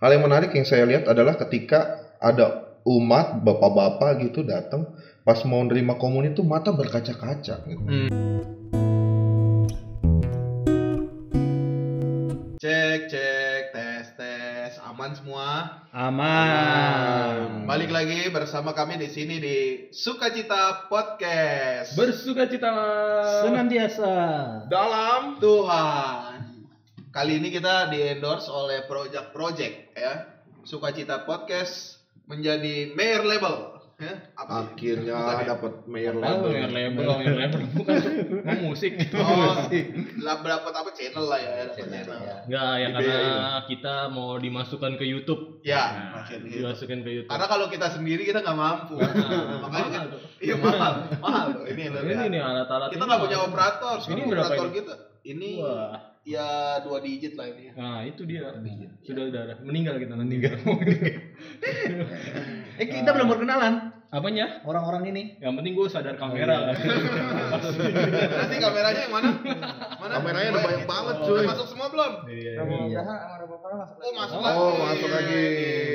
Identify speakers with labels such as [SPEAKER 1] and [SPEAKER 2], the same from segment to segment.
[SPEAKER 1] Hal yang menarik yang saya lihat adalah ketika ada umat bapak-bapak gitu datang pas mau nerima komuni tuh mata berkaca-kaca gitu.
[SPEAKER 2] Hmm. Cek, cek, tes, tes, aman semua.
[SPEAKER 3] Aman.
[SPEAKER 2] Balik lagi bersama kami di sini di Sukacita Podcast.
[SPEAKER 4] bersuka cita
[SPEAKER 3] Senantiasa.
[SPEAKER 2] dalam Tuhan. Kali ini kita di endorse oleh Project Project ya. Sukacita Podcast menjadi mayor label. Ya, apa sih? ya.
[SPEAKER 1] Akhirnya dapat mayor
[SPEAKER 4] Oh,
[SPEAKER 1] label.
[SPEAKER 4] yang label, oh, yang label. Bukan, oh, musik.
[SPEAKER 2] Oh, lah dapat apa channel lah ya, dapat channel. Ya,
[SPEAKER 4] Enggak, ya
[SPEAKER 1] Di
[SPEAKER 4] karena kita mau dimasukkan ke YouTube. Nah,
[SPEAKER 2] maksudnya gitu.
[SPEAKER 4] dimasukkan ke YouTube.
[SPEAKER 2] Karena kalau kita sendiri kita nggak mampu.
[SPEAKER 4] Nah,
[SPEAKER 2] Makanya
[SPEAKER 4] mahal
[SPEAKER 2] kita-
[SPEAKER 4] tuh.
[SPEAKER 2] iya mahal, mahal. loh. Ini loh.
[SPEAKER 4] ini nih alat-alat
[SPEAKER 2] Kita
[SPEAKER 4] ini
[SPEAKER 2] nggak
[SPEAKER 4] mahal.
[SPEAKER 2] punya operator.
[SPEAKER 4] Ini
[SPEAKER 2] Sekarang
[SPEAKER 4] berapa
[SPEAKER 2] operator
[SPEAKER 4] ini?
[SPEAKER 2] kita ini
[SPEAKER 4] Wah.
[SPEAKER 2] ya dua digit lah ini.
[SPEAKER 4] Nah, itu dia. Sudah udah, udah. meninggal kita nanti.
[SPEAKER 3] Eh kita belum perkenalan
[SPEAKER 4] Apanya?
[SPEAKER 3] orang-orang ini.
[SPEAKER 4] Yang penting gue sadar kamera.
[SPEAKER 2] Nanti kameranya yang mana? mana?
[SPEAKER 1] Kameranya ada
[SPEAKER 2] Boleh.
[SPEAKER 1] banyak banget,
[SPEAKER 2] Oh,
[SPEAKER 1] cuy.
[SPEAKER 2] udah Masuk semua belum?
[SPEAKER 4] Iya.
[SPEAKER 3] Iya.
[SPEAKER 2] Oh masuk
[SPEAKER 4] Oh,
[SPEAKER 2] lagi.
[SPEAKER 1] masuk lagi.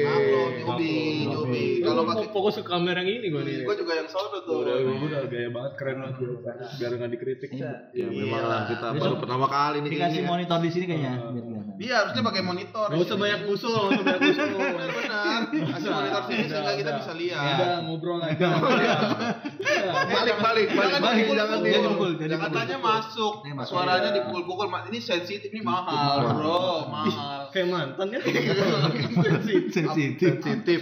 [SPEAKER 2] Upload, nyobi,
[SPEAKER 4] Upload,
[SPEAKER 2] nyobi.
[SPEAKER 4] upload.
[SPEAKER 2] Kalau
[SPEAKER 4] Gua
[SPEAKER 2] pakai
[SPEAKER 4] fokus ke kamera yang ini gue nih.
[SPEAKER 2] gue juga yang sono tuh.
[SPEAKER 4] Udah, udah gaya banget keren banget gue. Biar nggak dikritik.
[SPEAKER 1] Ya memang
[SPEAKER 2] Iya.
[SPEAKER 1] lah kita
[SPEAKER 3] Besok-
[SPEAKER 1] baru pertama kali nih
[SPEAKER 3] Dikasih
[SPEAKER 1] kayaknya.
[SPEAKER 3] monitor di sini kayaknya. biar kelihatan.
[SPEAKER 2] Dia harusnya pakai monitor.
[SPEAKER 4] Gak usah banyak usul, gak usah banyak usul.
[SPEAKER 2] Benar. Kasih monitor sini
[SPEAKER 4] Udah,
[SPEAKER 2] sehingga kita
[SPEAKER 4] Iya. udah.
[SPEAKER 2] bisa lihat. Iya.
[SPEAKER 4] Udah ngobrol aja. Udah.
[SPEAKER 1] Balik balik balik
[SPEAKER 2] Jangan
[SPEAKER 1] balik
[SPEAKER 2] dipukul,
[SPEAKER 1] jangan
[SPEAKER 2] jangan
[SPEAKER 1] di-
[SPEAKER 3] dipukul. Jadi
[SPEAKER 2] Jangan tanya
[SPEAKER 3] dipukul.
[SPEAKER 2] masuk.
[SPEAKER 3] Ini masuk,
[SPEAKER 2] Suaranya
[SPEAKER 4] iya.
[SPEAKER 2] dipukul-pukul. Ma- Ini sensitif, ini mahal, bro. Mahal.
[SPEAKER 4] Kayak mantan ya.
[SPEAKER 3] Sensitif.
[SPEAKER 1] sensitif.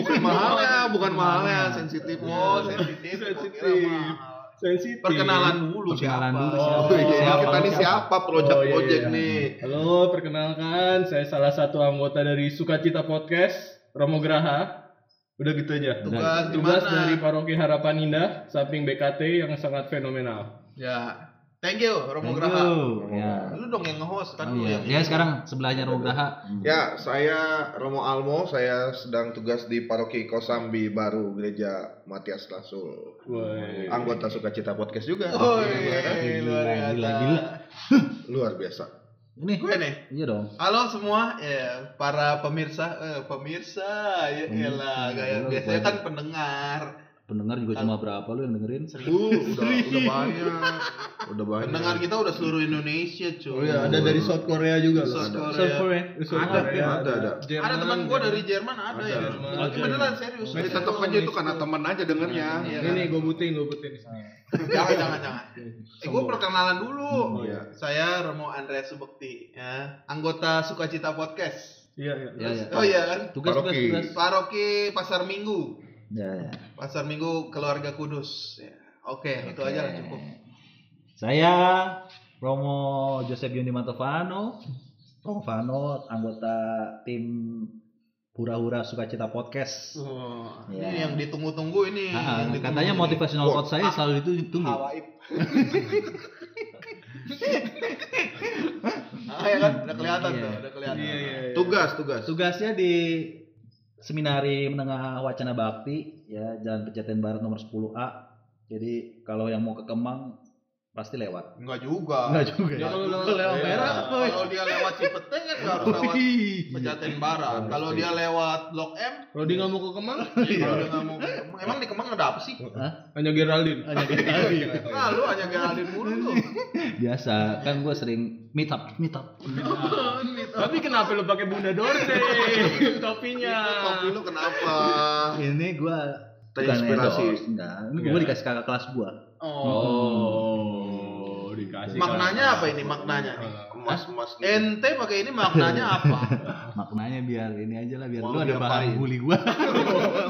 [SPEAKER 1] Bukan mahalnya, bukan
[SPEAKER 3] Iya.
[SPEAKER 1] mahalnya, sensitif.
[SPEAKER 2] Oh, sensitif.
[SPEAKER 4] Sensitif.
[SPEAKER 2] Gua kira mahal.
[SPEAKER 4] Sensitif.
[SPEAKER 2] Perkenalan dulu siapa?
[SPEAKER 3] Iya. Perkenalan dulu
[SPEAKER 4] siapa.
[SPEAKER 1] Oh, iya.
[SPEAKER 4] Siapa?
[SPEAKER 1] Kita ini siapa project
[SPEAKER 4] Oh, iya,
[SPEAKER 1] project
[SPEAKER 4] iya.
[SPEAKER 1] nih?
[SPEAKER 4] Halo, perkenalkan saya salah satu anggota dari Sukacita Podcast, Romo Graha. Udah gitu aja.
[SPEAKER 2] Tugas di
[SPEAKER 4] Tugas
[SPEAKER 2] mana?
[SPEAKER 4] dari Paroki Harapan Indah, samping BKT yang sangat fenomenal.
[SPEAKER 2] Ya. Thank you, Romo Graha.
[SPEAKER 3] Thank
[SPEAKER 2] Iya.
[SPEAKER 3] you. Ya.
[SPEAKER 2] Lu dong yang nge-host kan lu
[SPEAKER 3] Oh, iya.
[SPEAKER 2] yang.
[SPEAKER 3] Ya sekarang sebelahnya Romo Graha.
[SPEAKER 1] Ya, saya Romo Almo, saya sedang tugas di Paroki Kosambi Baru Gereja Matias Rasul.
[SPEAKER 4] Woi.
[SPEAKER 1] Anggota Sukacita Podcast juga.
[SPEAKER 2] Oh, iya, Woi, luar biasa.
[SPEAKER 3] Gila, gila.
[SPEAKER 1] Luar biasa.
[SPEAKER 3] Ini.
[SPEAKER 2] iya, Gue nih.
[SPEAKER 3] Iya dong.
[SPEAKER 2] Halo semua, ya para pemirsa, eh, pemirsa, ya elah, kayak
[SPEAKER 3] Lu
[SPEAKER 2] biasanya
[SPEAKER 3] buat-
[SPEAKER 2] kan pendengar,
[SPEAKER 3] Pendengar juga cuma berapa lu yang dengerin?
[SPEAKER 1] Uh, udah, udah banyak. Udah banyak.
[SPEAKER 2] pendengar kita udah seluruh Indonesia cuy.
[SPEAKER 4] Oh iya, ada dari South Korea juga loh.
[SPEAKER 2] South Korea.
[SPEAKER 1] ada,
[SPEAKER 4] Korea,
[SPEAKER 1] ada, ada.
[SPEAKER 4] Jerman,
[SPEAKER 2] ada teman gue dari Jerman ada,
[SPEAKER 1] Ada.
[SPEAKER 2] ya.
[SPEAKER 4] Jerman.
[SPEAKER 2] Tapi beneran serius.
[SPEAKER 1] Ini tetep aja itu karena temen aja dengernya.
[SPEAKER 2] Iya.
[SPEAKER 4] Ini gue butin, gue butin.
[SPEAKER 2] jangan jangan jangan. Eh gue perkenalan
[SPEAKER 1] Oh,
[SPEAKER 2] dulu.
[SPEAKER 1] iya.
[SPEAKER 2] Saya Romo Andreas Subekti, ya. anggota Sukacita Podcast.
[SPEAKER 4] Iya,
[SPEAKER 3] Ya, ya.
[SPEAKER 2] Oh iya kan?
[SPEAKER 3] Tugas tugas
[SPEAKER 1] Paroki.
[SPEAKER 3] tugas.
[SPEAKER 2] Paroki Pasar Minggu,
[SPEAKER 3] Ya, ya.
[SPEAKER 2] Pasar Minggu Keluarga Kudus. Ya. Oke, itu aja lah, cukup.
[SPEAKER 3] Saya Romo Joseph Yuni Mantovano, Romo Fano, anggota tim Hura-Hura Sukacita Podcast.
[SPEAKER 2] Oh,
[SPEAKER 3] Ya.
[SPEAKER 2] Ini yang ditunggu-tunggu ini.
[SPEAKER 3] Ah,
[SPEAKER 2] yang ditunggu
[SPEAKER 3] katanya motivational
[SPEAKER 1] Wah,
[SPEAKER 3] quote saya selalu itu ditunggu.
[SPEAKER 2] Hawaib. ah ya kan udah kelihatan
[SPEAKER 3] Iya.
[SPEAKER 2] tuh, udah kelihatan.
[SPEAKER 4] Iya, iya, iya.
[SPEAKER 1] Tugas, tugas.
[SPEAKER 3] Tugasnya di Seminari Menengah Wacana Bakti ya Jalan Pejaten Barat nomor 10A. Jadi kalau yang mau ke Kemang pasti lewat.
[SPEAKER 2] Enggak juga.
[SPEAKER 3] Enggak juga.
[SPEAKER 4] Ya, kalau lewat Lewat
[SPEAKER 2] Iya.
[SPEAKER 4] merah, woy.
[SPEAKER 2] Kalau dia lewat Cipete kan nggak harus lewat Pejaten Barat. Kalau dia lewat Blok M,
[SPEAKER 4] Kalau dia nggak mau ke Kemang,
[SPEAKER 2] kalau dia nggak mau ke Kemang- emang di Kemang ada apa sih?
[SPEAKER 3] Iya,
[SPEAKER 4] hanya Geraldine. Hanya Geraldine.
[SPEAKER 2] Nah, lu hanya Geraldine mulu lu.
[SPEAKER 3] Biasa kan gue sering meet up, meet up.
[SPEAKER 4] Tapi kenapa lu pakai Bunda Dorce topinya?
[SPEAKER 2] Iya.
[SPEAKER 1] Kopi lu kenapa?
[SPEAKER 3] Ini gue
[SPEAKER 1] Terinspirasi.
[SPEAKER 3] enggak. Ini gue
[SPEAKER 4] Enggak.
[SPEAKER 3] dikasih kakak kelas gue.
[SPEAKER 2] Oh.
[SPEAKER 4] Oh, dikasih.
[SPEAKER 2] Maknanya apa
[SPEAKER 4] ya?
[SPEAKER 2] ini maknanya nih?
[SPEAKER 1] Emas, emas.
[SPEAKER 2] Ente pakai ini maknanya apa?
[SPEAKER 3] Maknanya biar ini aja lah biar
[SPEAKER 1] Mau
[SPEAKER 3] lu ada
[SPEAKER 1] diapain?
[SPEAKER 3] bahan bully gue.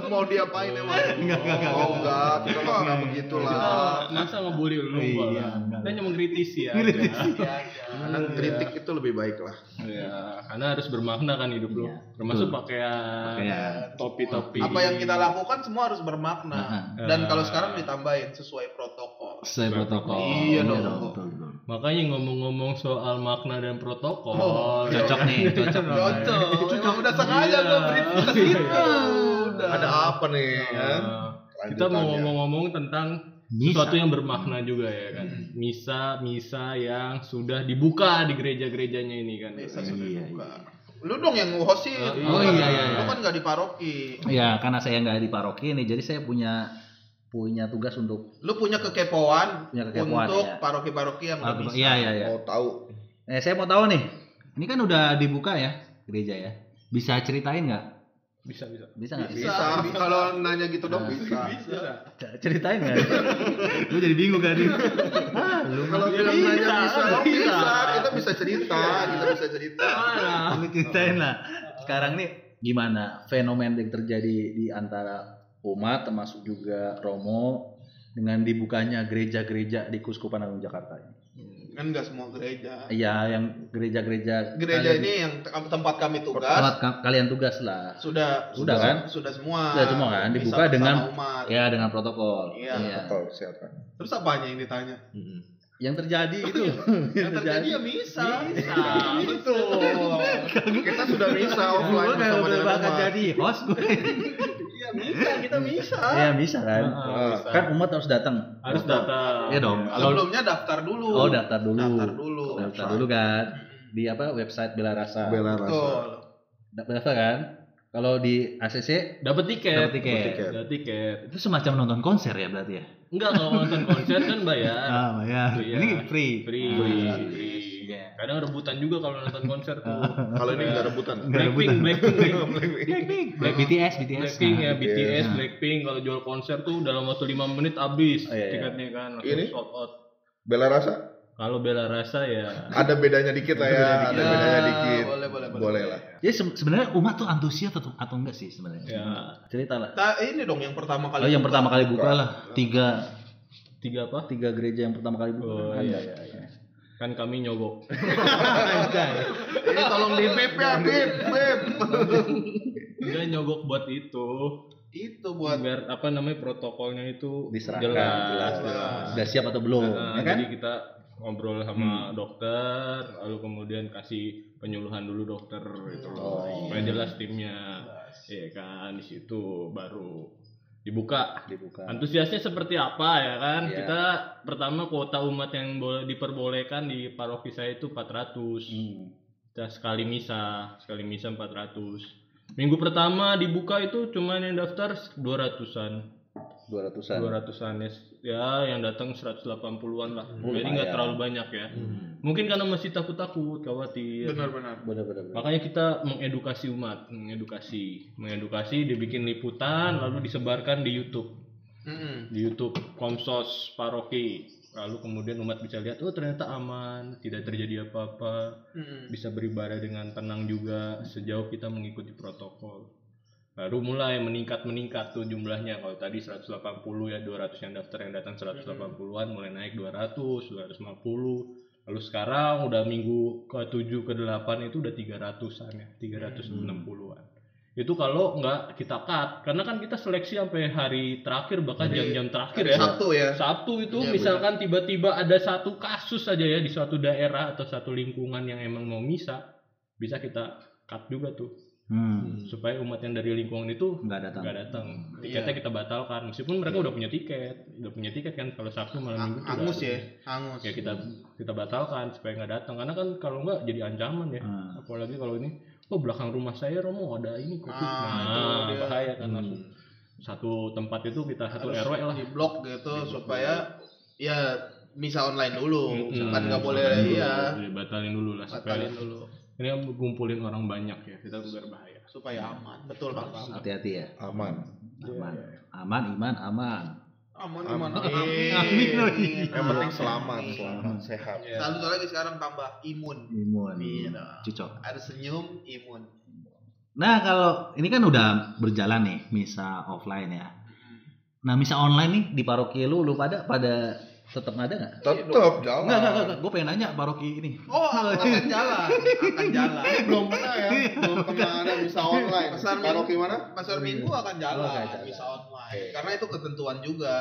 [SPEAKER 1] Mau diapain emang?
[SPEAKER 4] Iya,
[SPEAKER 1] Enggak, enggak, enggak. Oh, enggak. Kita mah enggak begitulah.
[SPEAKER 4] Ah, masa ngebully lu
[SPEAKER 3] Iya,
[SPEAKER 4] Mbak?
[SPEAKER 3] enggak.
[SPEAKER 4] Kita cuma kritisi ya.
[SPEAKER 2] Ya, ya.
[SPEAKER 1] Kadang kritik itu lebih baik lah.
[SPEAKER 4] Iya, karena harus bermakna kan hidup lu.
[SPEAKER 3] Iya,
[SPEAKER 4] Termasuk
[SPEAKER 3] betul.
[SPEAKER 4] pakaian,
[SPEAKER 3] Pakaian.
[SPEAKER 4] topi-topi.
[SPEAKER 2] Apa yang kita lakukan semua harus bermakna.
[SPEAKER 4] Nah. Nah.
[SPEAKER 2] Dan kalau sekarang ditambahin sesuai protokol.
[SPEAKER 3] Saya protokol.
[SPEAKER 2] Iya dong.
[SPEAKER 3] betul, betul.
[SPEAKER 4] Makanya ngomong-ngomong soal makna dan protokol. ya.
[SPEAKER 2] Oh,
[SPEAKER 3] Cocok nih, cocok. nih.
[SPEAKER 2] Cocok. Emang udah sengaja
[SPEAKER 4] Nah, Iya.
[SPEAKER 2] gue beri ke situ. Udah.
[SPEAKER 1] Ada apa nih?
[SPEAKER 2] Ya.
[SPEAKER 1] kan?
[SPEAKER 4] Nah, kita mau
[SPEAKER 1] Lanjutannya.
[SPEAKER 4] ngomong-ngomong tentang
[SPEAKER 3] Misa.
[SPEAKER 4] sesuatu yang bermakna juga ya kan. Misa, misa yang sudah dibuka di gereja-gerejanya ini kan.
[SPEAKER 2] Desa sudah
[SPEAKER 3] Iya,
[SPEAKER 2] dibuka. Lu dong yang nge-host sih.
[SPEAKER 4] Oh,
[SPEAKER 2] Lu kan-
[SPEAKER 4] iya, iya, iya.
[SPEAKER 2] Lu kan nggak di paroki.
[SPEAKER 3] Ya karena saya nggak di paroki ini, jadi saya punya punya tugas untuk
[SPEAKER 2] Lu punya kekepoan,
[SPEAKER 3] punya kekepoan.
[SPEAKER 2] untuk
[SPEAKER 3] ya.
[SPEAKER 2] paroki-paroki yang nggak bisa.
[SPEAKER 3] Iya iya iya.
[SPEAKER 1] Mau tahu
[SPEAKER 3] Eh saya mau tahu nih, ini kan udah dibuka ya gereja ya. Bisa ceritain nggak?
[SPEAKER 4] Bisa bisa.
[SPEAKER 3] Bisa nggak?
[SPEAKER 2] Bisa, bisa. kalau nanya gitu dong
[SPEAKER 3] Nah.
[SPEAKER 2] bisa.
[SPEAKER 4] Bisa.
[SPEAKER 3] Ceritain nggak? Lu jadi bingung kan? Ah, lu
[SPEAKER 2] Kalau
[SPEAKER 3] mah.
[SPEAKER 2] bilang
[SPEAKER 3] Iya,
[SPEAKER 2] nanya bisa, dong
[SPEAKER 3] bisa.
[SPEAKER 2] bisa. Kita bisa cerita, kita bisa cerita.
[SPEAKER 4] Mana?
[SPEAKER 3] Iya. Lu ceritain lah. Sekarang nih gimana fenomena yang terjadi di antara umat termasuk juga Romo dengan dibukanya gereja-gereja di Kuskupan Agung Jakarta ini.
[SPEAKER 2] Kan nggak semua gereja.
[SPEAKER 3] Iya, yang gereja-gereja
[SPEAKER 2] Gereja
[SPEAKER 3] kalian-
[SPEAKER 2] ini yang te- tempat kami tugas
[SPEAKER 3] tempat ka- kalian tugas lah.
[SPEAKER 2] sudah
[SPEAKER 3] Sudah kan?
[SPEAKER 2] sudah semua
[SPEAKER 3] Sudah semua kan?
[SPEAKER 2] Bisa
[SPEAKER 3] Dibuka
[SPEAKER 2] bersama
[SPEAKER 3] dengan-
[SPEAKER 2] umat.
[SPEAKER 3] Ya, dengan protokol.
[SPEAKER 2] Iya.
[SPEAKER 1] protokol kesehatan.
[SPEAKER 2] terus apanya yang ditanya
[SPEAKER 1] Mm-mm.
[SPEAKER 3] Yang terjadi itu.
[SPEAKER 2] yang terjadi ya bisa
[SPEAKER 4] Bisa.
[SPEAKER 2] gitu kita sudah bisa
[SPEAKER 3] Gue
[SPEAKER 2] offline
[SPEAKER 3] gak
[SPEAKER 2] bersama
[SPEAKER 3] Iya. boleh
[SPEAKER 2] dengan
[SPEAKER 3] bakal
[SPEAKER 2] umat
[SPEAKER 3] jadi host gue.
[SPEAKER 2] iya bisa kita bisa
[SPEAKER 3] Iya, bisa kan?
[SPEAKER 4] Ah, bisa.
[SPEAKER 3] Kan umat harus datang.
[SPEAKER 4] harus datang.
[SPEAKER 3] Iya dong. Kalau
[SPEAKER 2] sebelumnya daftar dulu
[SPEAKER 3] Oh, daftar dulu.
[SPEAKER 2] daftar dulu
[SPEAKER 3] Daftar dulu kan di apa website Bela Rasa.
[SPEAKER 1] Bela rasa.
[SPEAKER 2] betul
[SPEAKER 3] Daftar kan? Kalau di ACC
[SPEAKER 4] Dapat tiket.
[SPEAKER 3] Dapat tiket.
[SPEAKER 4] Dapat tiket.
[SPEAKER 3] itu semacam nonton konser ya berarti ya?
[SPEAKER 4] Enggak kalau nonton konser kan bayar.
[SPEAKER 3] Ah, bayar.
[SPEAKER 4] Iya.
[SPEAKER 3] Ini free.
[SPEAKER 4] Free.
[SPEAKER 3] Ah,
[SPEAKER 4] Free.
[SPEAKER 3] Iya.
[SPEAKER 4] Kadang rebutan juga kalau nonton konser tuh.
[SPEAKER 1] Kalau ini
[SPEAKER 4] Iya.
[SPEAKER 1] nggak rebutan.
[SPEAKER 3] Nggak
[SPEAKER 4] Blackpink,
[SPEAKER 3] rebutan.
[SPEAKER 4] Blackpink, Blackpink.
[SPEAKER 3] Blackpink. Black BTS, BTS.
[SPEAKER 4] Blackpink ya,
[SPEAKER 1] BTS.
[SPEAKER 4] BTS,
[SPEAKER 3] Nah.
[SPEAKER 4] Blackpink kalau jual konser tuh dalam waktu 5 menit habis
[SPEAKER 3] Oh, iya, iya.
[SPEAKER 4] tiketnya kan langsung
[SPEAKER 1] Ini?
[SPEAKER 4] sold out.
[SPEAKER 1] Bela rasa
[SPEAKER 4] Kalau Bela Rasa ya
[SPEAKER 1] ada bedanya dikit lah ya,
[SPEAKER 2] Ada
[SPEAKER 1] ada bedanya
[SPEAKER 2] ya,
[SPEAKER 1] dikit.
[SPEAKER 2] boleh boleh boleh,
[SPEAKER 1] Boleh lah.
[SPEAKER 3] Jadi se- sebenarnya umat tuh antusias atau atau enggak sih sebenarnya?
[SPEAKER 4] Ya.
[SPEAKER 3] Iya. Cerita lah.
[SPEAKER 2] Ta- Nah, ini dong yang pertama kali
[SPEAKER 3] Kalau Oh, yang
[SPEAKER 2] buka.
[SPEAKER 3] pertama kali buka lah tiga
[SPEAKER 4] tiga apa?
[SPEAKER 3] tiga gereja yang pertama kali buka.
[SPEAKER 4] Oh,
[SPEAKER 3] kan
[SPEAKER 4] iya,
[SPEAKER 3] ada.
[SPEAKER 4] iya, Kan kami nyogok.
[SPEAKER 2] ini tolong di bip ya bip bip
[SPEAKER 4] Enggak nyogok buat itu.
[SPEAKER 2] itu buat
[SPEAKER 4] Biar apa namanya protokolnya itu
[SPEAKER 3] Diserahkan,
[SPEAKER 4] jelas,
[SPEAKER 3] jelas,
[SPEAKER 2] jelas.
[SPEAKER 3] Sudah siap atau belum?
[SPEAKER 4] Nah,
[SPEAKER 3] ya kan? Hmm.
[SPEAKER 4] Jadi kita ngobrol sama dokter, lalu kemudian kasih penyuluhan dulu dokter gitu loh.
[SPEAKER 3] Oh.
[SPEAKER 4] Supaya jelas timnya. Iya kan di situ baru dibuka.
[SPEAKER 3] kan? Dibuka.
[SPEAKER 4] Antusiasnya seperti apa ya kan?
[SPEAKER 3] Iya.
[SPEAKER 4] Kita pertama kuota umat yang boleh diperbolehkan di paroki saya itu 400.
[SPEAKER 3] Hmm.
[SPEAKER 4] Kita sekali misa, sekali misa 400. Minggu pertama dibuka itu cuman yang daftar 200-an.
[SPEAKER 3] 200-an.
[SPEAKER 4] 200-an ya. ya, yang datang 180-an lah.
[SPEAKER 3] Oh,
[SPEAKER 4] Jadi nggak
[SPEAKER 3] lumayan.
[SPEAKER 4] terlalu banyak ya.
[SPEAKER 3] Hmm.
[SPEAKER 4] Mungkin karena masih takut-takut,
[SPEAKER 3] Iya.
[SPEAKER 4] khawatir.
[SPEAKER 2] benar-benar
[SPEAKER 3] Benar benar. benar.
[SPEAKER 4] Makanya kita mengedukasi umat, mengedukasi, mengedukasi, dibikin liputan, lalu disebarkan di YouTube,
[SPEAKER 2] Mm-mm.
[SPEAKER 4] di YouTube Komsos Paroki. Lalu kemudian umat bisa lihat, oh ternyata aman, tidak terjadi apa-apa,
[SPEAKER 2] Mm-mm.
[SPEAKER 4] bisa beribadah dengan tenang juga sejauh kita mengikuti protokol. Baru mulai meningkat-meningkat tuh jumlahnya. Kalau tadi 180 ya 200 yang daftar yang datang 180-an mulai naik 200, 250. Lalu sekarang udah minggu ke 7 ke 8 itu udah 300-an ya, 360-an. Itu kalau nggak kita cut, karena kan kita seleksi sampai hari terakhir bahkan
[SPEAKER 2] Jadi,
[SPEAKER 4] jam-jam terakhir ya.
[SPEAKER 2] satu ya
[SPEAKER 4] Sabtu itu
[SPEAKER 2] Iya,
[SPEAKER 4] misalkan tiba-tiba ada satu kasus saja ya di suatu daerah atau satu lingkungan yang emang mau misa, bisa kita cut juga tuh
[SPEAKER 3] Hmm.
[SPEAKER 4] supaya umat yang dari lingkungan itu
[SPEAKER 3] Enggak datang.
[SPEAKER 4] nggak datang.
[SPEAKER 2] Iya.
[SPEAKER 4] Tiketnya kita batalkan meskipun mereka udah punya tiket, udah punya tiket kan kalau Sabtu malam Minggu tuh udah
[SPEAKER 2] hangus
[SPEAKER 4] ada.
[SPEAKER 2] ya hangus
[SPEAKER 4] Ya kita kita batalkan supaya nggak datang karena kan kalau nggak jadi ancaman ya.
[SPEAKER 3] Hmm.
[SPEAKER 4] Apalagi kalau ini Oh belakang rumah saya Romo ada ini covid.
[SPEAKER 2] Ah, itu
[SPEAKER 4] Nah,
[SPEAKER 2] dia.
[SPEAKER 4] bahaya kan
[SPEAKER 3] Hmm.
[SPEAKER 4] langsung. satu tempat itu kita satu
[SPEAKER 2] Harus
[SPEAKER 4] RW lah.
[SPEAKER 2] di blok gitu supaya ya misa online dulu
[SPEAKER 4] Mm-mm.
[SPEAKER 2] kan nggak boleh
[SPEAKER 4] Batalin dulu,
[SPEAKER 2] iya
[SPEAKER 4] jadi batalin dulu lah supaya
[SPEAKER 2] batalin dulu
[SPEAKER 4] ini kan ngumpulin orang banyak ya kita berbahaya
[SPEAKER 2] supaya aman betul pak
[SPEAKER 3] Hati-hati ya.
[SPEAKER 1] Aman.
[SPEAKER 3] Aman. Aman iman aman.
[SPEAKER 2] aman
[SPEAKER 1] Aman.
[SPEAKER 2] aman
[SPEAKER 1] Amin.
[SPEAKER 3] Amin, amin.
[SPEAKER 1] Yang penting selamat,
[SPEAKER 2] Amin.
[SPEAKER 1] selamat, sehat.
[SPEAKER 4] Iya.
[SPEAKER 2] satu lagi sekarang tambah imun
[SPEAKER 3] Imun.
[SPEAKER 2] Iya.
[SPEAKER 3] Cocok.
[SPEAKER 2] ada senyum imun
[SPEAKER 3] Nah, kalau ini kan udah berjalan nih misa offline ya. Nah, misa online nih di paroki lu lu pada pada tetap ada nggak?
[SPEAKER 1] Tetap jalan.
[SPEAKER 3] Enggak, enggak, enggak. Gue pengen nanya paroki ini.
[SPEAKER 2] oh akan jalan akan jalan
[SPEAKER 1] Belum pernah ya. Belum pernah ada bisa online.
[SPEAKER 2] Pasar
[SPEAKER 1] Kalau
[SPEAKER 2] minggu
[SPEAKER 1] gimana?
[SPEAKER 2] pasar minggu akan
[SPEAKER 3] Oh, akan
[SPEAKER 2] jalan
[SPEAKER 3] jalan.
[SPEAKER 2] misa
[SPEAKER 1] Oke.
[SPEAKER 2] online karena itu ketentuan juga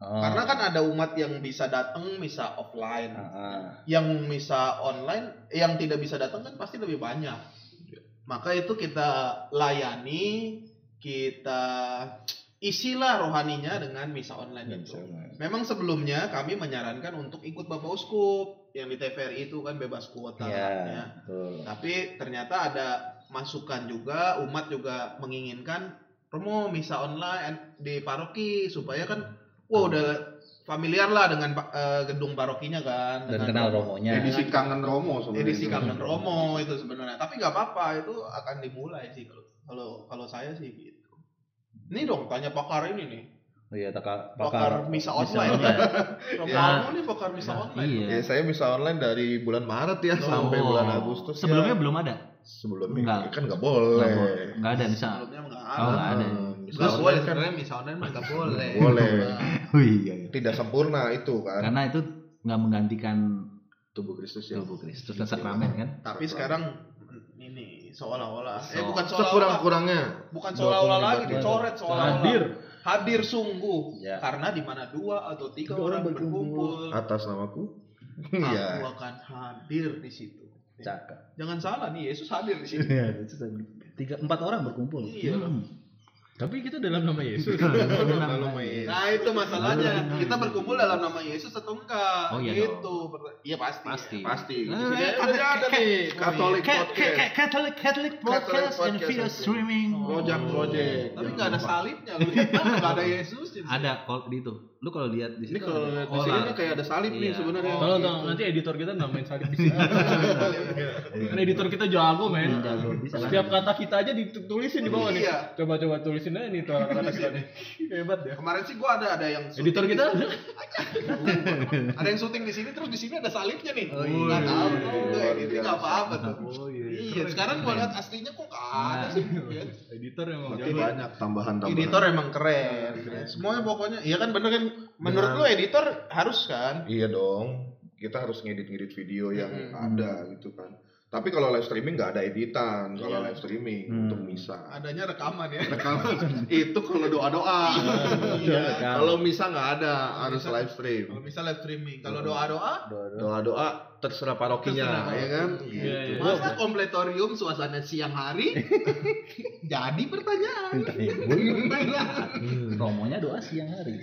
[SPEAKER 3] Oh.
[SPEAKER 2] karena kan ada umat yang bisa datang misa offline
[SPEAKER 3] Ah, ah.
[SPEAKER 2] yang misa online yang tidak bisa datang kan pasti lebih banyak
[SPEAKER 3] Iya.
[SPEAKER 2] maka itu kita layani kita isilah rohaninya dengan misa
[SPEAKER 3] Iya,
[SPEAKER 2] Iya, online itu memang sebelumnya kami menyarankan untuk ikut bapak uskup yang di TVRI itu kan bebas kuota
[SPEAKER 3] Iya,
[SPEAKER 2] ya.
[SPEAKER 3] betul.
[SPEAKER 2] tapi ternyata ada masukan juga umat juga menginginkan Romo misa online di paroki supaya kan wah udah familiar lah dengan pa- eh, gedung parokinya kan dengan
[SPEAKER 3] dan kenal
[SPEAKER 5] Ya.
[SPEAKER 3] romonya
[SPEAKER 2] Jadi-
[SPEAKER 1] edisi kangen Romo sebenarnya
[SPEAKER 2] edisi
[SPEAKER 1] itu.
[SPEAKER 2] kangen Romo itu sebenarnya tapi nggak apa-apa itu akan dimulai sih kalau kalau kalau saya sih gitu ini dong tanya pakar ini nih
[SPEAKER 3] oh, iya pakar
[SPEAKER 2] pakar misa online. Romo
[SPEAKER 1] Ya.
[SPEAKER 2] Romo nih pakar misa
[SPEAKER 3] Nah,
[SPEAKER 2] online
[SPEAKER 3] iya.
[SPEAKER 1] ya saya misa online dari bulan Maret ya
[SPEAKER 2] Oh.
[SPEAKER 1] sampai bulan Agustus ya.
[SPEAKER 5] Sebelumnya belum ada.
[SPEAKER 1] sebelumnya
[SPEAKER 5] Enggak.
[SPEAKER 1] kan nggak boleh
[SPEAKER 5] Nggak boleh. Nggak ada misa.
[SPEAKER 2] sebelumnya nggak
[SPEAKER 5] Oh,
[SPEAKER 2] ada
[SPEAKER 5] nggak ada.
[SPEAKER 1] Hmm, misa
[SPEAKER 2] Nggak
[SPEAKER 1] online
[SPEAKER 2] boleh
[SPEAKER 1] kan
[SPEAKER 2] sebenarnya misa online mah nggak boleh
[SPEAKER 1] Boleh.
[SPEAKER 5] Oh iya. iya.
[SPEAKER 1] tidak sempurna itu kan
[SPEAKER 5] Karena itu nggak menggantikan
[SPEAKER 3] tubuh Kristus ya
[SPEAKER 5] tubuh Kristus dan sakramen kan.
[SPEAKER 2] tapi sekarang ini seolah-olah eh
[SPEAKER 3] So-
[SPEAKER 2] bukan
[SPEAKER 1] Oh.
[SPEAKER 2] seolah-olah
[SPEAKER 1] sekurang-kurangnya
[SPEAKER 2] bukan seolah-olah lagi
[SPEAKER 1] Doa
[SPEAKER 2] dicoret seolah-olah
[SPEAKER 4] Hadir.
[SPEAKER 2] hadir sungguh
[SPEAKER 3] ya
[SPEAKER 2] karena di mana dua atau tiga orang
[SPEAKER 1] Iya.
[SPEAKER 2] berkumpul
[SPEAKER 1] atas namaku
[SPEAKER 2] aku
[SPEAKER 1] Iya.
[SPEAKER 2] akan hadir di situ
[SPEAKER 3] cakap
[SPEAKER 2] jangan salah nih Yesus hadir di sini
[SPEAKER 3] tiga empat orang berkumpul
[SPEAKER 2] Iya.
[SPEAKER 5] Iya, Hmm.
[SPEAKER 4] Tapi kita dalam nama Yesus.
[SPEAKER 1] Lalu main.
[SPEAKER 2] nah itu masalahnya kita berkumpul dalam nama Yesus atau enggak
[SPEAKER 5] Oh, iya
[SPEAKER 2] gitu Per- iya pasti
[SPEAKER 5] Pasti.
[SPEAKER 1] pasti
[SPEAKER 5] Eh,
[SPEAKER 2] Di sini
[SPEAKER 5] eh,
[SPEAKER 2] udah ada nih.
[SPEAKER 1] Katolik
[SPEAKER 5] Ca- ca-
[SPEAKER 1] podcast
[SPEAKER 5] ca- Catholic Catholic broadcast and
[SPEAKER 1] podcast,
[SPEAKER 5] video
[SPEAKER 1] oke.
[SPEAKER 5] streaming.
[SPEAKER 3] Oh.
[SPEAKER 1] Rojak Project
[SPEAKER 2] tapi nggak ada salibnya lu lihat kan nggak ada Yesus di sini.
[SPEAKER 5] Ada kalau di itu. Lu kalau lihat di
[SPEAKER 1] ini
[SPEAKER 5] situ.
[SPEAKER 1] kalau lihat di
[SPEAKER 5] Oh,
[SPEAKER 1] sini
[SPEAKER 5] lah.
[SPEAKER 1] ini kayak ada salib nih
[SPEAKER 5] Iya.
[SPEAKER 1] sebenarnya
[SPEAKER 4] Tolong
[SPEAKER 2] Gitu.
[SPEAKER 4] tolong nanti editor kita namain salib di sini. Karena Kan editor kita jago men.
[SPEAKER 5] Jago, bisa lah.
[SPEAKER 4] Setiap kata kita aja ditulisin di bawah nih.
[SPEAKER 2] Iya.
[SPEAKER 4] Coba coba tulisin aja nih tuh kata kita nih. Hebat ya.
[SPEAKER 2] kemarin sih gua ada ada yang syuting
[SPEAKER 4] Editor kita
[SPEAKER 2] ada yang syuting di sini terus di sini ada salibnya nih
[SPEAKER 4] Oh, iya.
[SPEAKER 2] nggak tahu tuh
[SPEAKER 1] Luar
[SPEAKER 2] kayak gitu nggak
[SPEAKER 1] biasa.
[SPEAKER 2] apa-apa tuh
[SPEAKER 4] Oh
[SPEAKER 2] iya sekarang gua lihat aslinya kok nggak ada sih
[SPEAKER 4] Iya.
[SPEAKER 2] ya.
[SPEAKER 4] Editor emang
[SPEAKER 1] Berarti
[SPEAKER 4] jago.
[SPEAKER 1] banyak tambahan-tambahan
[SPEAKER 2] editor emang keren semuanya pokoknya iya kan bener kan menurut
[SPEAKER 4] Iya.
[SPEAKER 2] lu editor harus kan
[SPEAKER 1] Iya dong, kita harus ngedit-ngedit video yang
[SPEAKER 2] Mm.
[SPEAKER 1] ada gitu kan. Tapi kalau live streaming nggak ada editan, kalau
[SPEAKER 2] Iya.
[SPEAKER 1] live streaming
[SPEAKER 3] Hmm.
[SPEAKER 1] untuk misa.
[SPEAKER 2] adanya rekaman ya
[SPEAKER 1] Rekaman itu kalau doa-doa.
[SPEAKER 2] iya.
[SPEAKER 1] kalau misa nggak ada, harus
[SPEAKER 2] Misa-
[SPEAKER 1] live stream.
[SPEAKER 2] kalau bisa live streaming kalau doa doa
[SPEAKER 1] Doa-doa terserah parokinya,
[SPEAKER 2] Terserah
[SPEAKER 1] ya kan?
[SPEAKER 2] paroki.
[SPEAKER 1] Gitu.
[SPEAKER 4] Iya, iya.
[SPEAKER 2] masa kompletorium suasana siang hari jadi pertanyaan
[SPEAKER 3] romonya doa siang hari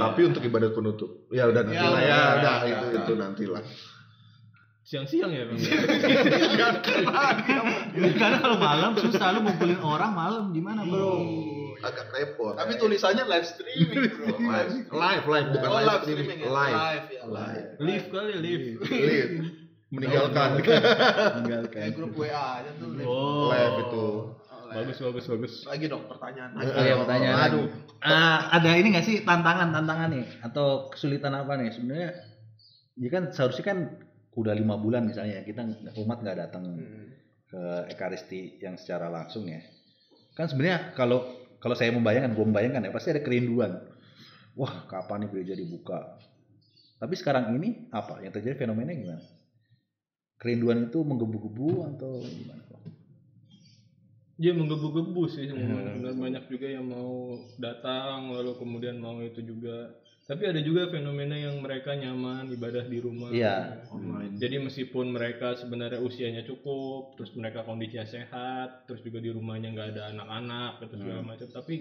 [SPEAKER 1] Tapi untuk ibadat penutup, ya udah nanti
[SPEAKER 2] Ya,
[SPEAKER 1] lah ya,
[SPEAKER 2] udah,
[SPEAKER 1] udah
[SPEAKER 2] ya,
[SPEAKER 1] itu
[SPEAKER 2] ya.
[SPEAKER 1] itu nantilah.
[SPEAKER 4] Siang-siang ya Bang.
[SPEAKER 5] Ya, Karena kalau malam susah lu ngumpulin orang malam gimana, Bro?
[SPEAKER 3] Iya.
[SPEAKER 1] Agak repot.
[SPEAKER 2] tapi tulisannya live streaming bro
[SPEAKER 1] live, live, live, bukan
[SPEAKER 2] oh,
[SPEAKER 1] live streaming,
[SPEAKER 2] ya.
[SPEAKER 1] live,
[SPEAKER 2] ya live
[SPEAKER 1] Live.
[SPEAKER 4] Live kali ya, live.
[SPEAKER 2] Iya.
[SPEAKER 1] live, meninggalkan
[SPEAKER 3] meninggalkan
[SPEAKER 2] kayak grup WA aja tuh live.
[SPEAKER 4] Oh.
[SPEAKER 1] live itu.
[SPEAKER 2] Oh, live.
[SPEAKER 4] Bagus bagus bagus.
[SPEAKER 2] lagi dong pertanyaan
[SPEAKER 3] Oh iya, pertanyaan lagi.
[SPEAKER 1] Aduh.
[SPEAKER 3] Ah, ada ini nggak sih tantangan tantangan nih atau kesulitan apa nih sebenarnya? Ya kan seharusnya kan udah lima bulan misalnya kita umat nggak datang
[SPEAKER 2] Hmm.
[SPEAKER 3] ke ekaristi yang secara langsung ya. Kan sebenarnya kalau kalau saya membayangkan, gue membayangkan ya pasti ada kerinduan. Wah kapan nih gereja dibuka? Tapi sekarang ini apa yang terjadi fenomena gimana? Kerinduan itu menggebu-gebu atau gimana?
[SPEAKER 4] Dia menggebu-gebu sih
[SPEAKER 3] Iya.
[SPEAKER 4] benar banyak juga yang mau datang lalu kemudian mau itu juga. Tapi ada juga fenomena yang mereka nyaman ibadah di rumah.
[SPEAKER 3] Iya.
[SPEAKER 4] Jadi meskipun mereka sebenarnya usianya cukup, terus mereka kondisinya sehat, terus juga di rumahnya nggak ada anak-anak, atau
[SPEAKER 3] Hmm.
[SPEAKER 4] segala macam, tapi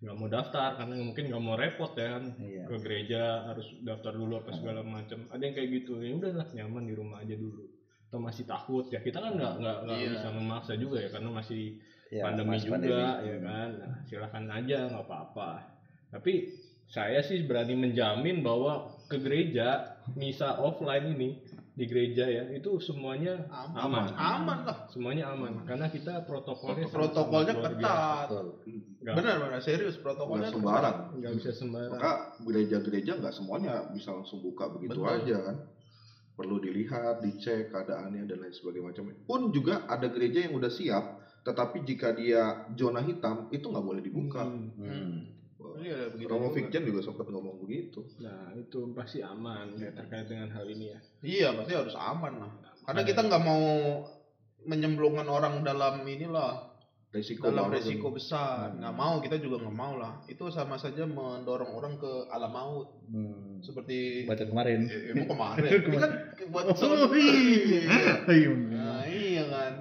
[SPEAKER 4] nggak mau daftar karena mungkin nggak mau repot ya kan
[SPEAKER 3] Iya.
[SPEAKER 4] ke gereja harus daftar dulu apa segala macam. Ada yang kayak gitu, ya udahlah nyaman di rumah aja dulu. Atau masih takut ya kita kan nggak nggak nggak
[SPEAKER 2] Iya.
[SPEAKER 4] bisa memaksa juga ya karena masih
[SPEAKER 3] Ya,
[SPEAKER 4] pandemi
[SPEAKER 3] mas
[SPEAKER 4] juga ya kan nah, silahkan aja nggak apa-apa tapi saya sih berani menjamin bahwa ke gereja misa offline ini di gereja ya itu semuanya Aman.
[SPEAKER 2] aman aman lah
[SPEAKER 4] semuanya aman karena kita protokolnya
[SPEAKER 2] protokolnya
[SPEAKER 4] sangat-sangat Iya, luar
[SPEAKER 2] ketat
[SPEAKER 3] Betul.
[SPEAKER 4] Nggak-
[SPEAKER 2] benar benar serius protokolnya
[SPEAKER 1] Nggak sembarang.
[SPEAKER 4] biasa. nggak bisa sembarang
[SPEAKER 1] Maka gereja-gereja nggak semuanya bisa langsung buka begitu
[SPEAKER 4] Betul.
[SPEAKER 1] aja kan. Perlu dilihat, dicek keadaannya dan lain sebagainya macam. Pun juga ada gereja yang udah siap, tetapi jika dia zona hitam itu nggak boleh dibuka.
[SPEAKER 4] Hmm.
[SPEAKER 3] Hmm.
[SPEAKER 2] Iya, begitu
[SPEAKER 1] Romo
[SPEAKER 2] juga.
[SPEAKER 1] Fikjan juga sempat ngomong begitu.
[SPEAKER 4] nah itu pasti aman ya terkait dengan hal ini ya
[SPEAKER 2] iya pasti harus aman lah karena kita nggak mau menyemplungkan orang dalam inilah
[SPEAKER 1] Resiko
[SPEAKER 2] dalam
[SPEAKER 1] banget.
[SPEAKER 2] resiko besar nggak mau kita juga nggak mau lah itu sama saja mendorong orang ke alam maut
[SPEAKER 3] Hmm.
[SPEAKER 2] seperti
[SPEAKER 3] Baca kemarin.
[SPEAKER 2] Eh, emang kemarin ini kan buat
[SPEAKER 3] Oh,
[SPEAKER 2] iya.
[SPEAKER 3] Ayo.
[SPEAKER 2] nah, iya kan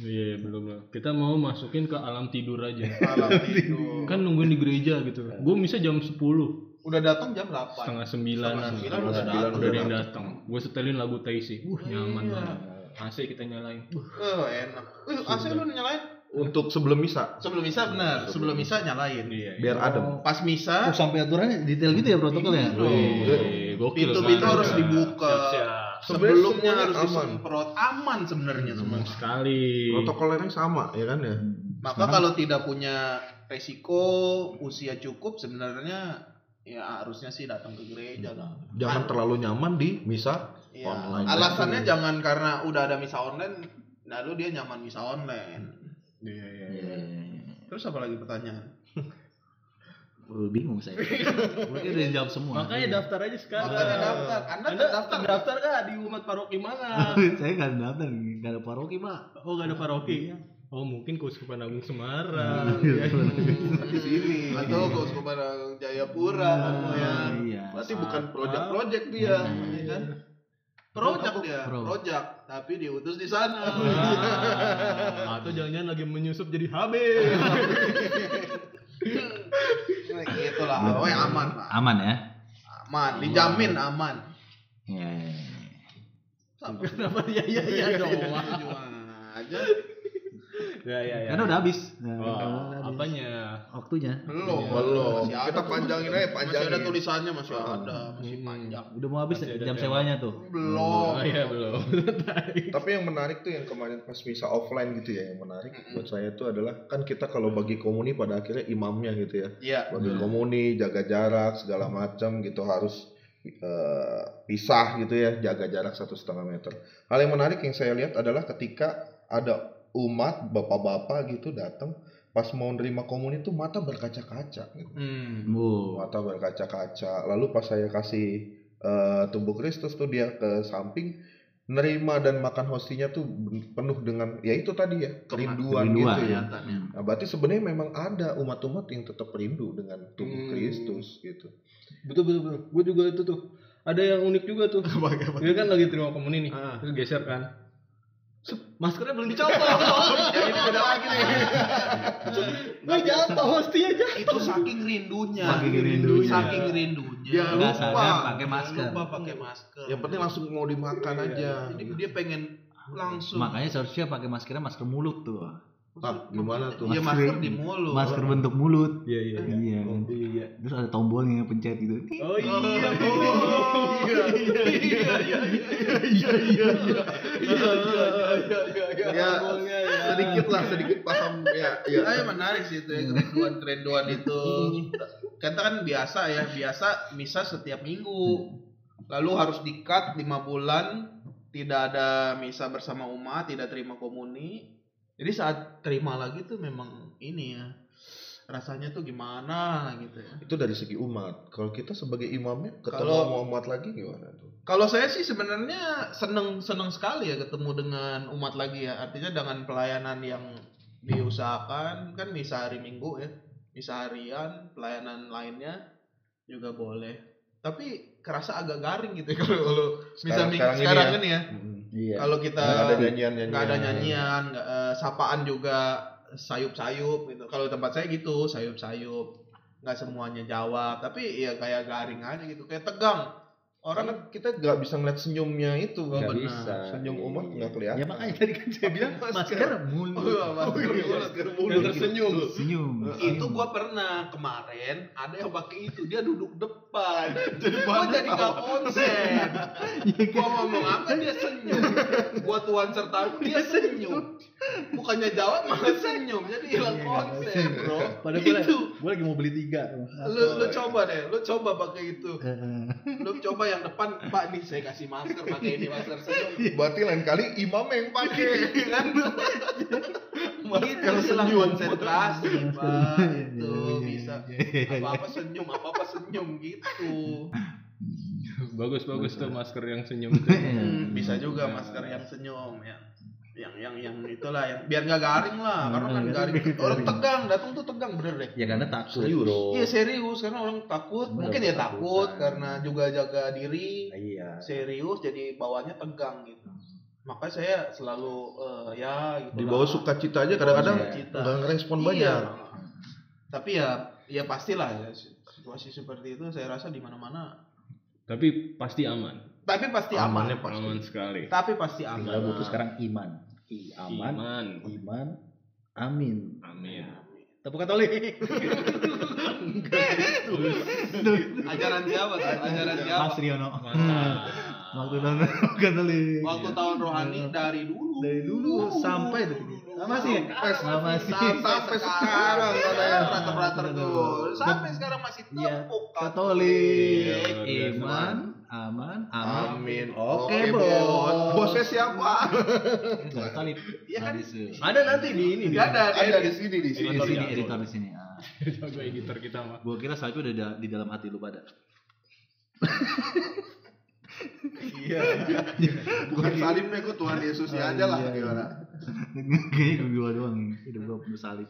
[SPEAKER 4] iya belum lah kita mau masukin ke alam tidur aja
[SPEAKER 2] alam tidur
[SPEAKER 4] kan nungguin di gereja gitu gue misa jam 10
[SPEAKER 2] udah datang jam 8
[SPEAKER 4] setengah sembilan
[SPEAKER 2] Setengah sembilan
[SPEAKER 1] udah
[SPEAKER 4] udah
[SPEAKER 1] datang.
[SPEAKER 4] datang udah ada yang datang gue setelin lagu Taisi uh nyaman
[SPEAKER 2] Iya.
[SPEAKER 4] banget AC kita nyalain.
[SPEAKER 2] Oh, enak. Wih, AC lu nyalain?
[SPEAKER 1] Untuk sebelum misa
[SPEAKER 2] Sebelum misa benar, sebelum misa nyalain.
[SPEAKER 4] Iya.
[SPEAKER 1] biar adem.
[SPEAKER 2] Pas
[SPEAKER 5] Oh,
[SPEAKER 2] misa
[SPEAKER 5] sampai aturannya detail gitu ya protokolnya.
[SPEAKER 2] Iya.
[SPEAKER 4] Wih, gokil.
[SPEAKER 2] Pintu-pintu
[SPEAKER 4] kan?
[SPEAKER 2] harus dibuka.
[SPEAKER 4] Siap-siap.
[SPEAKER 2] sebelumnya
[SPEAKER 1] semuanya
[SPEAKER 2] harus
[SPEAKER 1] aman.
[SPEAKER 2] disemprot aman sebenarnya semua.
[SPEAKER 4] Senang sekali.
[SPEAKER 1] Protokolnya sama ya kan ya.
[SPEAKER 2] Maka kalau tidak punya resiko usia cukup sebenarnya ya harusnya sih datang ke gereja lah.
[SPEAKER 1] Jangan
[SPEAKER 2] Ah.
[SPEAKER 1] terlalu nyaman di misa.
[SPEAKER 2] Ya,
[SPEAKER 1] Online.
[SPEAKER 2] alasannya jangan karena udah ada misa online lalu dia nyaman misa online.
[SPEAKER 4] Iya, iya, iya.
[SPEAKER 2] Terus apa lagi pertanyaan?
[SPEAKER 5] Oh, bingung saya. Mungkin udah dijawab semua.
[SPEAKER 4] Makanya daftar aja sekarang.
[SPEAKER 2] Makanya daftar. Anda terdaftar nggak?
[SPEAKER 4] terdaftar nggak di umat paroki mana?
[SPEAKER 5] saya nggak ada daftar, nggak ada paroki pak.
[SPEAKER 4] Oh gak ada paroki?
[SPEAKER 5] Iya.
[SPEAKER 4] Oh mungkin Keuskupan Agung Semarang.
[SPEAKER 2] Iya,
[SPEAKER 4] Iya,
[SPEAKER 2] Di sini. Atau Keuskupan Jayapura kamu ya.
[SPEAKER 5] Iya.
[SPEAKER 2] Berarti bukan project-project dia, ya
[SPEAKER 1] Hmm.
[SPEAKER 2] kan? Projak dia,
[SPEAKER 5] Pro.
[SPEAKER 2] projak, tapi diutus di sana.
[SPEAKER 4] Ah, atau jangan-jangan lagi menyusup jadi HB.
[SPEAKER 2] Nah, gitu lah. Oh, yang aman, Pak.
[SPEAKER 5] Aman ya?
[SPEAKER 2] Aman, dijamin aman.
[SPEAKER 5] Iya. iya,
[SPEAKER 2] Sama.
[SPEAKER 4] Kenapa
[SPEAKER 2] Iya,
[SPEAKER 4] ya ya ya dong?
[SPEAKER 2] Tujuan iya, aja
[SPEAKER 4] Ya ya
[SPEAKER 5] iya.
[SPEAKER 4] ya.
[SPEAKER 5] Karena udah habis. Nah,
[SPEAKER 4] Wah,
[SPEAKER 5] udah habis.
[SPEAKER 4] apanya?
[SPEAKER 5] Waktunya.
[SPEAKER 2] belum
[SPEAKER 1] Belum.
[SPEAKER 2] Iya, Masih ada.
[SPEAKER 1] Kita panjangin aja,
[SPEAKER 2] masih
[SPEAKER 1] panjangin.
[SPEAKER 2] ada tulisannya masih
[SPEAKER 1] Ah.
[SPEAKER 2] ada masih
[SPEAKER 4] Hmm.
[SPEAKER 2] panjang
[SPEAKER 5] Udah mau habis
[SPEAKER 4] Masih ada
[SPEAKER 5] jam
[SPEAKER 4] tema.
[SPEAKER 5] sewanya tuh.
[SPEAKER 2] belum
[SPEAKER 4] Oh iya belum.
[SPEAKER 1] Tapi yang menarik tuh yang kemarin pas misa offline gitu ya yang menarik
[SPEAKER 2] Hmm.
[SPEAKER 1] buat saya tuh adalah kan kita kalau bagi komuni pada akhirnya imamnya gitu ya.
[SPEAKER 2] iya
[SPEAKER 1] Bagi
[SPEAKER 5] Hmm.
[SPEAKER 1] komuni, jaga jarak segala
[SPEAKER 2] Hmm.
[SPEAKER 1] macam gitu harus eh, pisah gitu ya, jaga jarak satu setengah meter. Hal yang menarik yang saya lihat adalah ketika ada umat bapak-bapak gitu datang pas mau nerima komuni tuh mata berkaca-kaca gitu.
[SPEAKER 2] hmm.
[SPEAKER 5] Bu.
[SPEAKER 1] mata berkaca-kaca. Lalu pas saya kasih eh, tubuh Kristus tuh dia ke samping nerima dan makan hostinya tuh ben- penuh dengan ya itu tadi ya kerinduan,
[SPEAKER 5] Kerinduan,
[SPEAKER 1] gitu ya.
[SPEAKER 2] kelihatannya
[SPEAKER 1] Nah, berarti sebenarnya memang ada umat-umat yang tetap rindu dengan tubuh
[SPEAKER 4] Hmm.
[SPEAKER 1] Kristus gitu.
[SPEAKER 4] Betul betul betul. Gue juga itu tuh. Ada yang unik juga tuh. Dia kan lagi terima komuni nih.
[SPEAKER 2] Ah.
[SPEAKER 4] Terus geser kan. Set, Maskernya belum dicopot.
[SPEAKER 2] Yang ini beda lagi nih
[SPEAKER 4] Wih jatuh hostinya aja.
[SPEAKER 2] itu saking rindunya
[SPEAKER 5] Saking rindunya.
[SPEAKER 2] saking rindunya
[SPEAKER 1] Dia
[SPEAKER 5] Nggak
[SPEAKER 1] lupa.
[SPEAKER 5] sadar pakai masker.
[SPEAKER 2] lupa pakai masker
[SPEAKER 1] Yang penting langsung mau dimakan aja.
[SPEAKER 2] Jadi dia pengen langsung
[SPEAKER 5] Makanya seharusnya pakai maskernya masker mulut tuh.
[SPEAKER 1] Ah, gimana tuh?
[SPEAKER 2] Iya
[SPEAKER 5] Masker.
[SPEAKER 2] masker di mulut.
[SPEAKER 5] Masker bentuk mulut.
[SPEAKER 4] Iya iya. iya.
[SPEAKER 5] Iya. kan?
[SPEAKER 4] Iya.
[SPEAKER 5] Terus ada tombolnya pencet gitu.
[SPEAKER 4] Oh
[SPEAKER 2] Oh,
[SPEAKER 4] iya.
[SPEAKER 2] iya, iya, iya, iya, iya, iya, iya.
[SPEAKER 1] Ya
[SPEAKER 4] iya.
[SPEAKER 1] sedikit lah, sedikit paham ya. ya. Hmm.
[SPEAKER 2] Saya menarik sih itu ya, kerinduan-kerinduan itu. Kita kan biasa ya, biasa misa setiap
[SPEAKER 1] Hmm.
[SPEAKER 2] minggu. Lalu harus di-cut 5 bulan, tidak ada misa bersama umat, tidak terima komuni. Jadi saat terima lagi tuh memang ini ya, rasanya tuh gimana gitu ya.
[SPEAKER 1] Itu dari segi umat. Kalau kita sebagai imamnya ketemu
[SPEAKER 2] Kalau-
[SPEAKER 1] sama umat lagi gimana tuh?
[SPEAKER 2] Kalau saya sih sebenarnya seneng seneng sekali ya ketemu dengan umat lagi ya. Artinya dengan pelayanan yang diusahakan kan misa hari Minggu ya, misa harian, pelayanan lainnya juga boleh. Tapi kerasa agak garing gitu ya kalau kalau misa
[SPEAKER 1] Sekarang-
[SPEAKER 2] Minggu
[SPEAKER 1] sekarang
[SPEAKER 2] sekarang,
[SPEAKER 1] ini ya.
[SPEAKER 2] kan ya.
[SPEAKER 3] Iya.
[SPEAKER 2] Kalau kita
[SPEAKER 1] Nggak ada nyanyian-nyanyian.
[SPEAKER 2] nggak ada nyanyian, nggak, eh, sapaan juga sayup-sayup gitu. Kalau di tempat saya gitu sayup-sayup, nggak semuanya jawab. Tapi ya kayak garing aja gitu, kayak tegang. Orang
[SPEAKER 1] Karena kita nggak bisa ngeliat senyumnya itu.
[SPEAKER 3] Nggak
[SPEAKER 1] Benar.
[SPEAKER 3] bisa.
[SPEAKER 1] Senyum umat
[SPEAKER 3] Iya.
[SPEAKER 1] nggak kelihatan.
[SPEAKER 3] Ya makanya tadi kan saya bilang masker
[SPEAKER 2] Oh, iya.
[SPEAKER 3] mulut.
[SPEAKER 1] Udah
[SPEAKER 4] tersenyum.
[SPEAKER 5] Senyum.
[SPEAKER 2] itu gua pernah kemarin ada yang pakai itu dia duduk depan jadi gua jadi gak konsen
[SPEAKER 5] Iya,
[SPEAKER 2] gua ngomong apa dia senyum gua tuan sertaku dia senyum bukannya jawab malah senyum Iya, jadi hilang konsen bro
[SPEAKER 5] kan.
[SPEAKER 3] Padahal gue lagi,
[SPEAKER 2] kan? itu
[SPEAKER 3] gue lagi mau beli tiga tuh.
[SPEAKER 2] lu lu coba deh lu coba pakai itu lu coba yang depan pak nih saya kasih masker pakai ini masker senyum
[SPEAKER 1] Berarti lain kali imam yang pakai.
[SPEAKER 2] kan
[SPEAKER 1] yang
[SPEAKER 2] itu hilang
[SPEAKER 1] senyum.
[SPEAKER 2] konsentrasi pak itu bisa apa
[SPEAKER 5] Iya.
[SPEAKER 2] apa senyum apa apa senyum gitu
[SPEAKER 4] Bagus bagus tuh masker yang senyum.
[SPEAKER 2] Hmm, bisa juga
[SPEAKER 4] Iya.
[SPEAKER 2] masker yang senyum ya yang yang yang itulah yang biar nggak garing lah karena kan
[SPEAKER 5] Nggak
[SPEAKER 2] garing
[SPEAKER 5] garing.
[SPEAKER 2] orang tegang datang tuh tegang bener deh
[SPEAKER 3] Ya karena takut. bro.
[SPEAKER 2] iya serius karena orang takut
[SPEAKER 3] Bener,
[SPEAKER 2] mungkin ya takut
[SPEAKER 3] ketakutan.
[SPEAKER 2] karena juga jaga diri
[SPEAKER 4] Nah,
[SPEAKER 3] Iya.
[SPEAKER 2] serius jadi bawahnya tegang gitu makanya saya selalu eh, ya gitu
[SPEAKER 1] Di bawah sukacita aja kadang-kadang
[SPEAKER 2] Sukacita.
[SPEAKER 1] nggak ngerespon
[SPEAKER 2] Iya.
[SPEAKER 1] banyak.
[SPEAKER 2] tapi ya ya pastilah ya situasi seperti itu saya rasa di mana mana
[SPEAKER 4] Tapi pasti aman.
[SPEAKER 2] tapi pasti aman.
[SPEAKER 4] amannya aman sekali
[SPEAKER 2] Tapi pasti aman.
[SPEAKER 6] Tinggal butuh sekarang iman. I aman,
[SPEAKER 4] iman
[SPEAKER 6] iman, amin.
[SPEAKER 4] amin
[SPEAKER 6] Tepuk katolik.
[SPEAKER 2] Ajaran siapa? tuh?
[SPEAKER 3] Iya.
[SPEAKER 2] Ajaran siapa?
[SPEAKER 3] Mas Riono.
[SPEAKER 4] mantap
[SPEAKER 3] Waktu tahun katolik.
[SPEAKER 2] Waktu tahun rohani dari dulu.
[SPEAKER 3] Dari dulu sampai sama sih. Sama sih.
[SPEAKER 1] Sampai sekarang, katanya.
[SPEAKER 2] Prater-prater tuh. Sampai sekarang masih
[SPEAKER 3] Iya,
[SPEAKER 2] tepuk
[SPEAKER 3] Katolik,
[SPEAKER 4] Iya, luar biasa.
[SPEAKER 3] iman, aman, aman.
[SPEAKER 1] Amin.
[SPEAKER 3] Oke, Bos.
[SPEAKER 1] Oh, Bosnya siapa?
[SPEAKER 3] Gak salib.
[SPEAKER 2] Iya kan?
[SPEAKER 3] Nah, di sini.
[SPEAKER 4] ada nanti di ini di
[SPEAKER 2] Gak ada.
[SPEAKER 1] Ada di sini di
[SPEAKER 3] Di Iya.
[SPEAKER 1] sini.
[SPEAKER 3] sini
[SPEAKER 4] Editor.
[SPEAKER 3] editor di sini. Ah.
[SPEAKER 4] Jago editor kita mah
[SPEAKER 3] Gua kira salib udah da- di dalam hati lu pada.
[SPEAKER 1] Iya. Bukan salib deh, kok Tuhan Yesusnya aja Iya, lah gimana.
[SPEAKER 3] Iya. Kayaknya gua gua doang ini. Hidup gua penuh salib.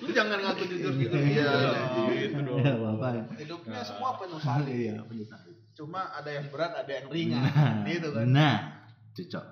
[SPEAKER 2] Lu jangan ngaku jujur-jujur
[SPEAKER 1] Iya,
[SPEAKER 2] gitu
[SPEAKER 1] iya,
[SPEAKER 2] dong.
[SPEAKER 4] gitu dong
[SPEAKER 3] Ya, apa-apa.
[SPEAKER 2] Hidupnya semua penuh salib.
[SPEAKER 3] Iya, penuh salib.
[SPEAKER 2] Cuma ada yang berat, ada yang ringan.
[SPEAKER 3] Nah,
[SPEAKER 2] Gitu kan.
[SPEAKER 3] Nah, cocok.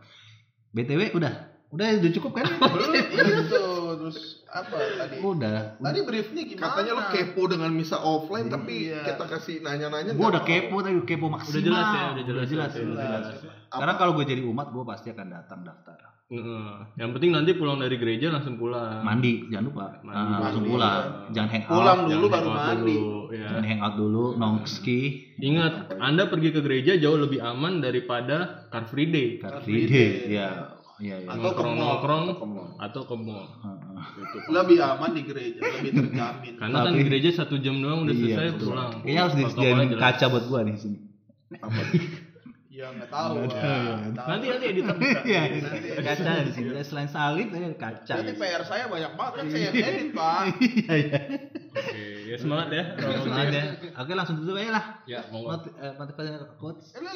[SPEAKER 3] BTW udah. Udah udah cukup kan?
[SPEAKER 2] Belum itu Iya, terus apa tadi?
[SPEAKER 3] udah.
[SPEAKER 2] Tadi briefnya gimana?
[SPEAKER 1] Katanya lo kepo dengan misa offline tapi
[SPEAKER 2] Iya.
[SPEAKER 1] kita kasih nanya-nanya. nggak
[SPEAKER 3] Gue udah
[SPEAKER 1] mau.
[SPEAKER 3] kepo tadi udah kepo maksimal.
[SPEAKER 4] udah jelas ya udah jelas
[SPEAKER 3] ya, udah
[SPEAKER 2] jelas.
[SPEAKER 3] jelas. Karena kalau gue jadi umat gue pasti akan datang daftar.
[SPEAKER 4] Heeh. yang penting nanti pulang dari gereja langsung pulang
[SPEAKER 3] Mandi jangan lupa.
[SPEAKER 4] Hmm. Mandi.
[SPEAKER 3] Ah, langsung
[SPEAKER 4] Mandi.
[SPEAKER 3] pulang. Jangan hang out.
[SPEAKER 2] Pulang dulu
[SPEAKER 4] Ah, Jangan
[SPEAKER 2] baru
[SPEAKER 4] lewat
[SPEAKER 2] mandi.
[SPEAKER 4] dulu, ya.
[SPEAKER 3] Jangan hang out dulu, nongski.
[SPEAKER 4] Ingat, Anda pergi ke gereja jauh lebih aman daripada Car Free Day.
[SPEAKER 3] Car
[SPEAKER 2] Car Free
[SPEAKER 3] Free Day.
[SPEAKER 2] Day.
[SPEAKER 3] Ya, ya, ya.
[SPEAKER 2] Atau ke mall.
[SPEAKER 4] nongkrong
[SPEAKER 1] Ke mall.
[SPEAKER 4] atau ke mall. Gitu.
[SPEAKER 2] lebih aman di gereja, lebih terjamin.
[SPEAKER 4] Karena kan
[SPEAKER 3] Tapi-
[SPEAKER 4] gereja satu jam doang udah
[SPEAKER 3] Iya,
[SPEAKER 4] selesai
[SPEAKER 3] betul.
[SPEAKER 4] pulang.
[SPEAKER 3] Kayaknya harus
[SPEAKER 4] Protokolnya
[SPEAKER 3] disediain
[SPEAKER 4] jelas.
[SPEAKER 3] kaca buat gue nih sini.
[SPEAKER 2] Ya nggak tahu. Wak.
[SPEAKER 3] Nggak tahu, ya.
[SPEAKER 2] Tahu.
[SPEAKER 4] Nanti nanti editor bisa.
[SPEAKER 3] Iya,
[SPEAKER 2] Nanti.
[SPEAKER 3] kaca di sini. Selain salib tadi ada kaca. gitu.
[SPEAKER 2] Nanti PR saya banyak banget kan saya yang edit pak.
[SPEAKER 3] Iya, iya.
[SPEAKER 4] Oke, ya semangat ya.
[SPEAKER 3] Langsung aja. Oke, langsung tutup aja lah.
[SPEAKER 4] Ya, monggo.
[SPEAKER 3] Mati- eh, Motivational coach.
[SPEAKER 2] Lah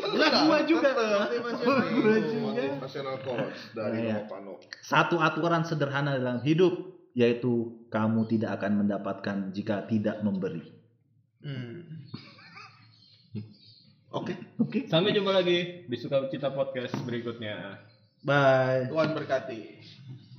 [SPEAKER 3] gua juga. Gua juga.
[SPEAKER 1] Motivational coach dari
[SPEAKER 3] Iya.
[SPEAKER 1] Novano.
[SPEAKER 6] Satu aturan sederhana dalam hidup yaitu kamu tidak akan mendapatkan jika tidak memberi.
[SPEAKER 2] Hmm. Oke,
[SPEAKER 6] Oke.
[SPEAKER 4] Sampai jumpa lagi di Sukacita Podcast berikutnya.
[SPEAKER 6] Bye.
[SPEAKER 2] Tuhan berkati.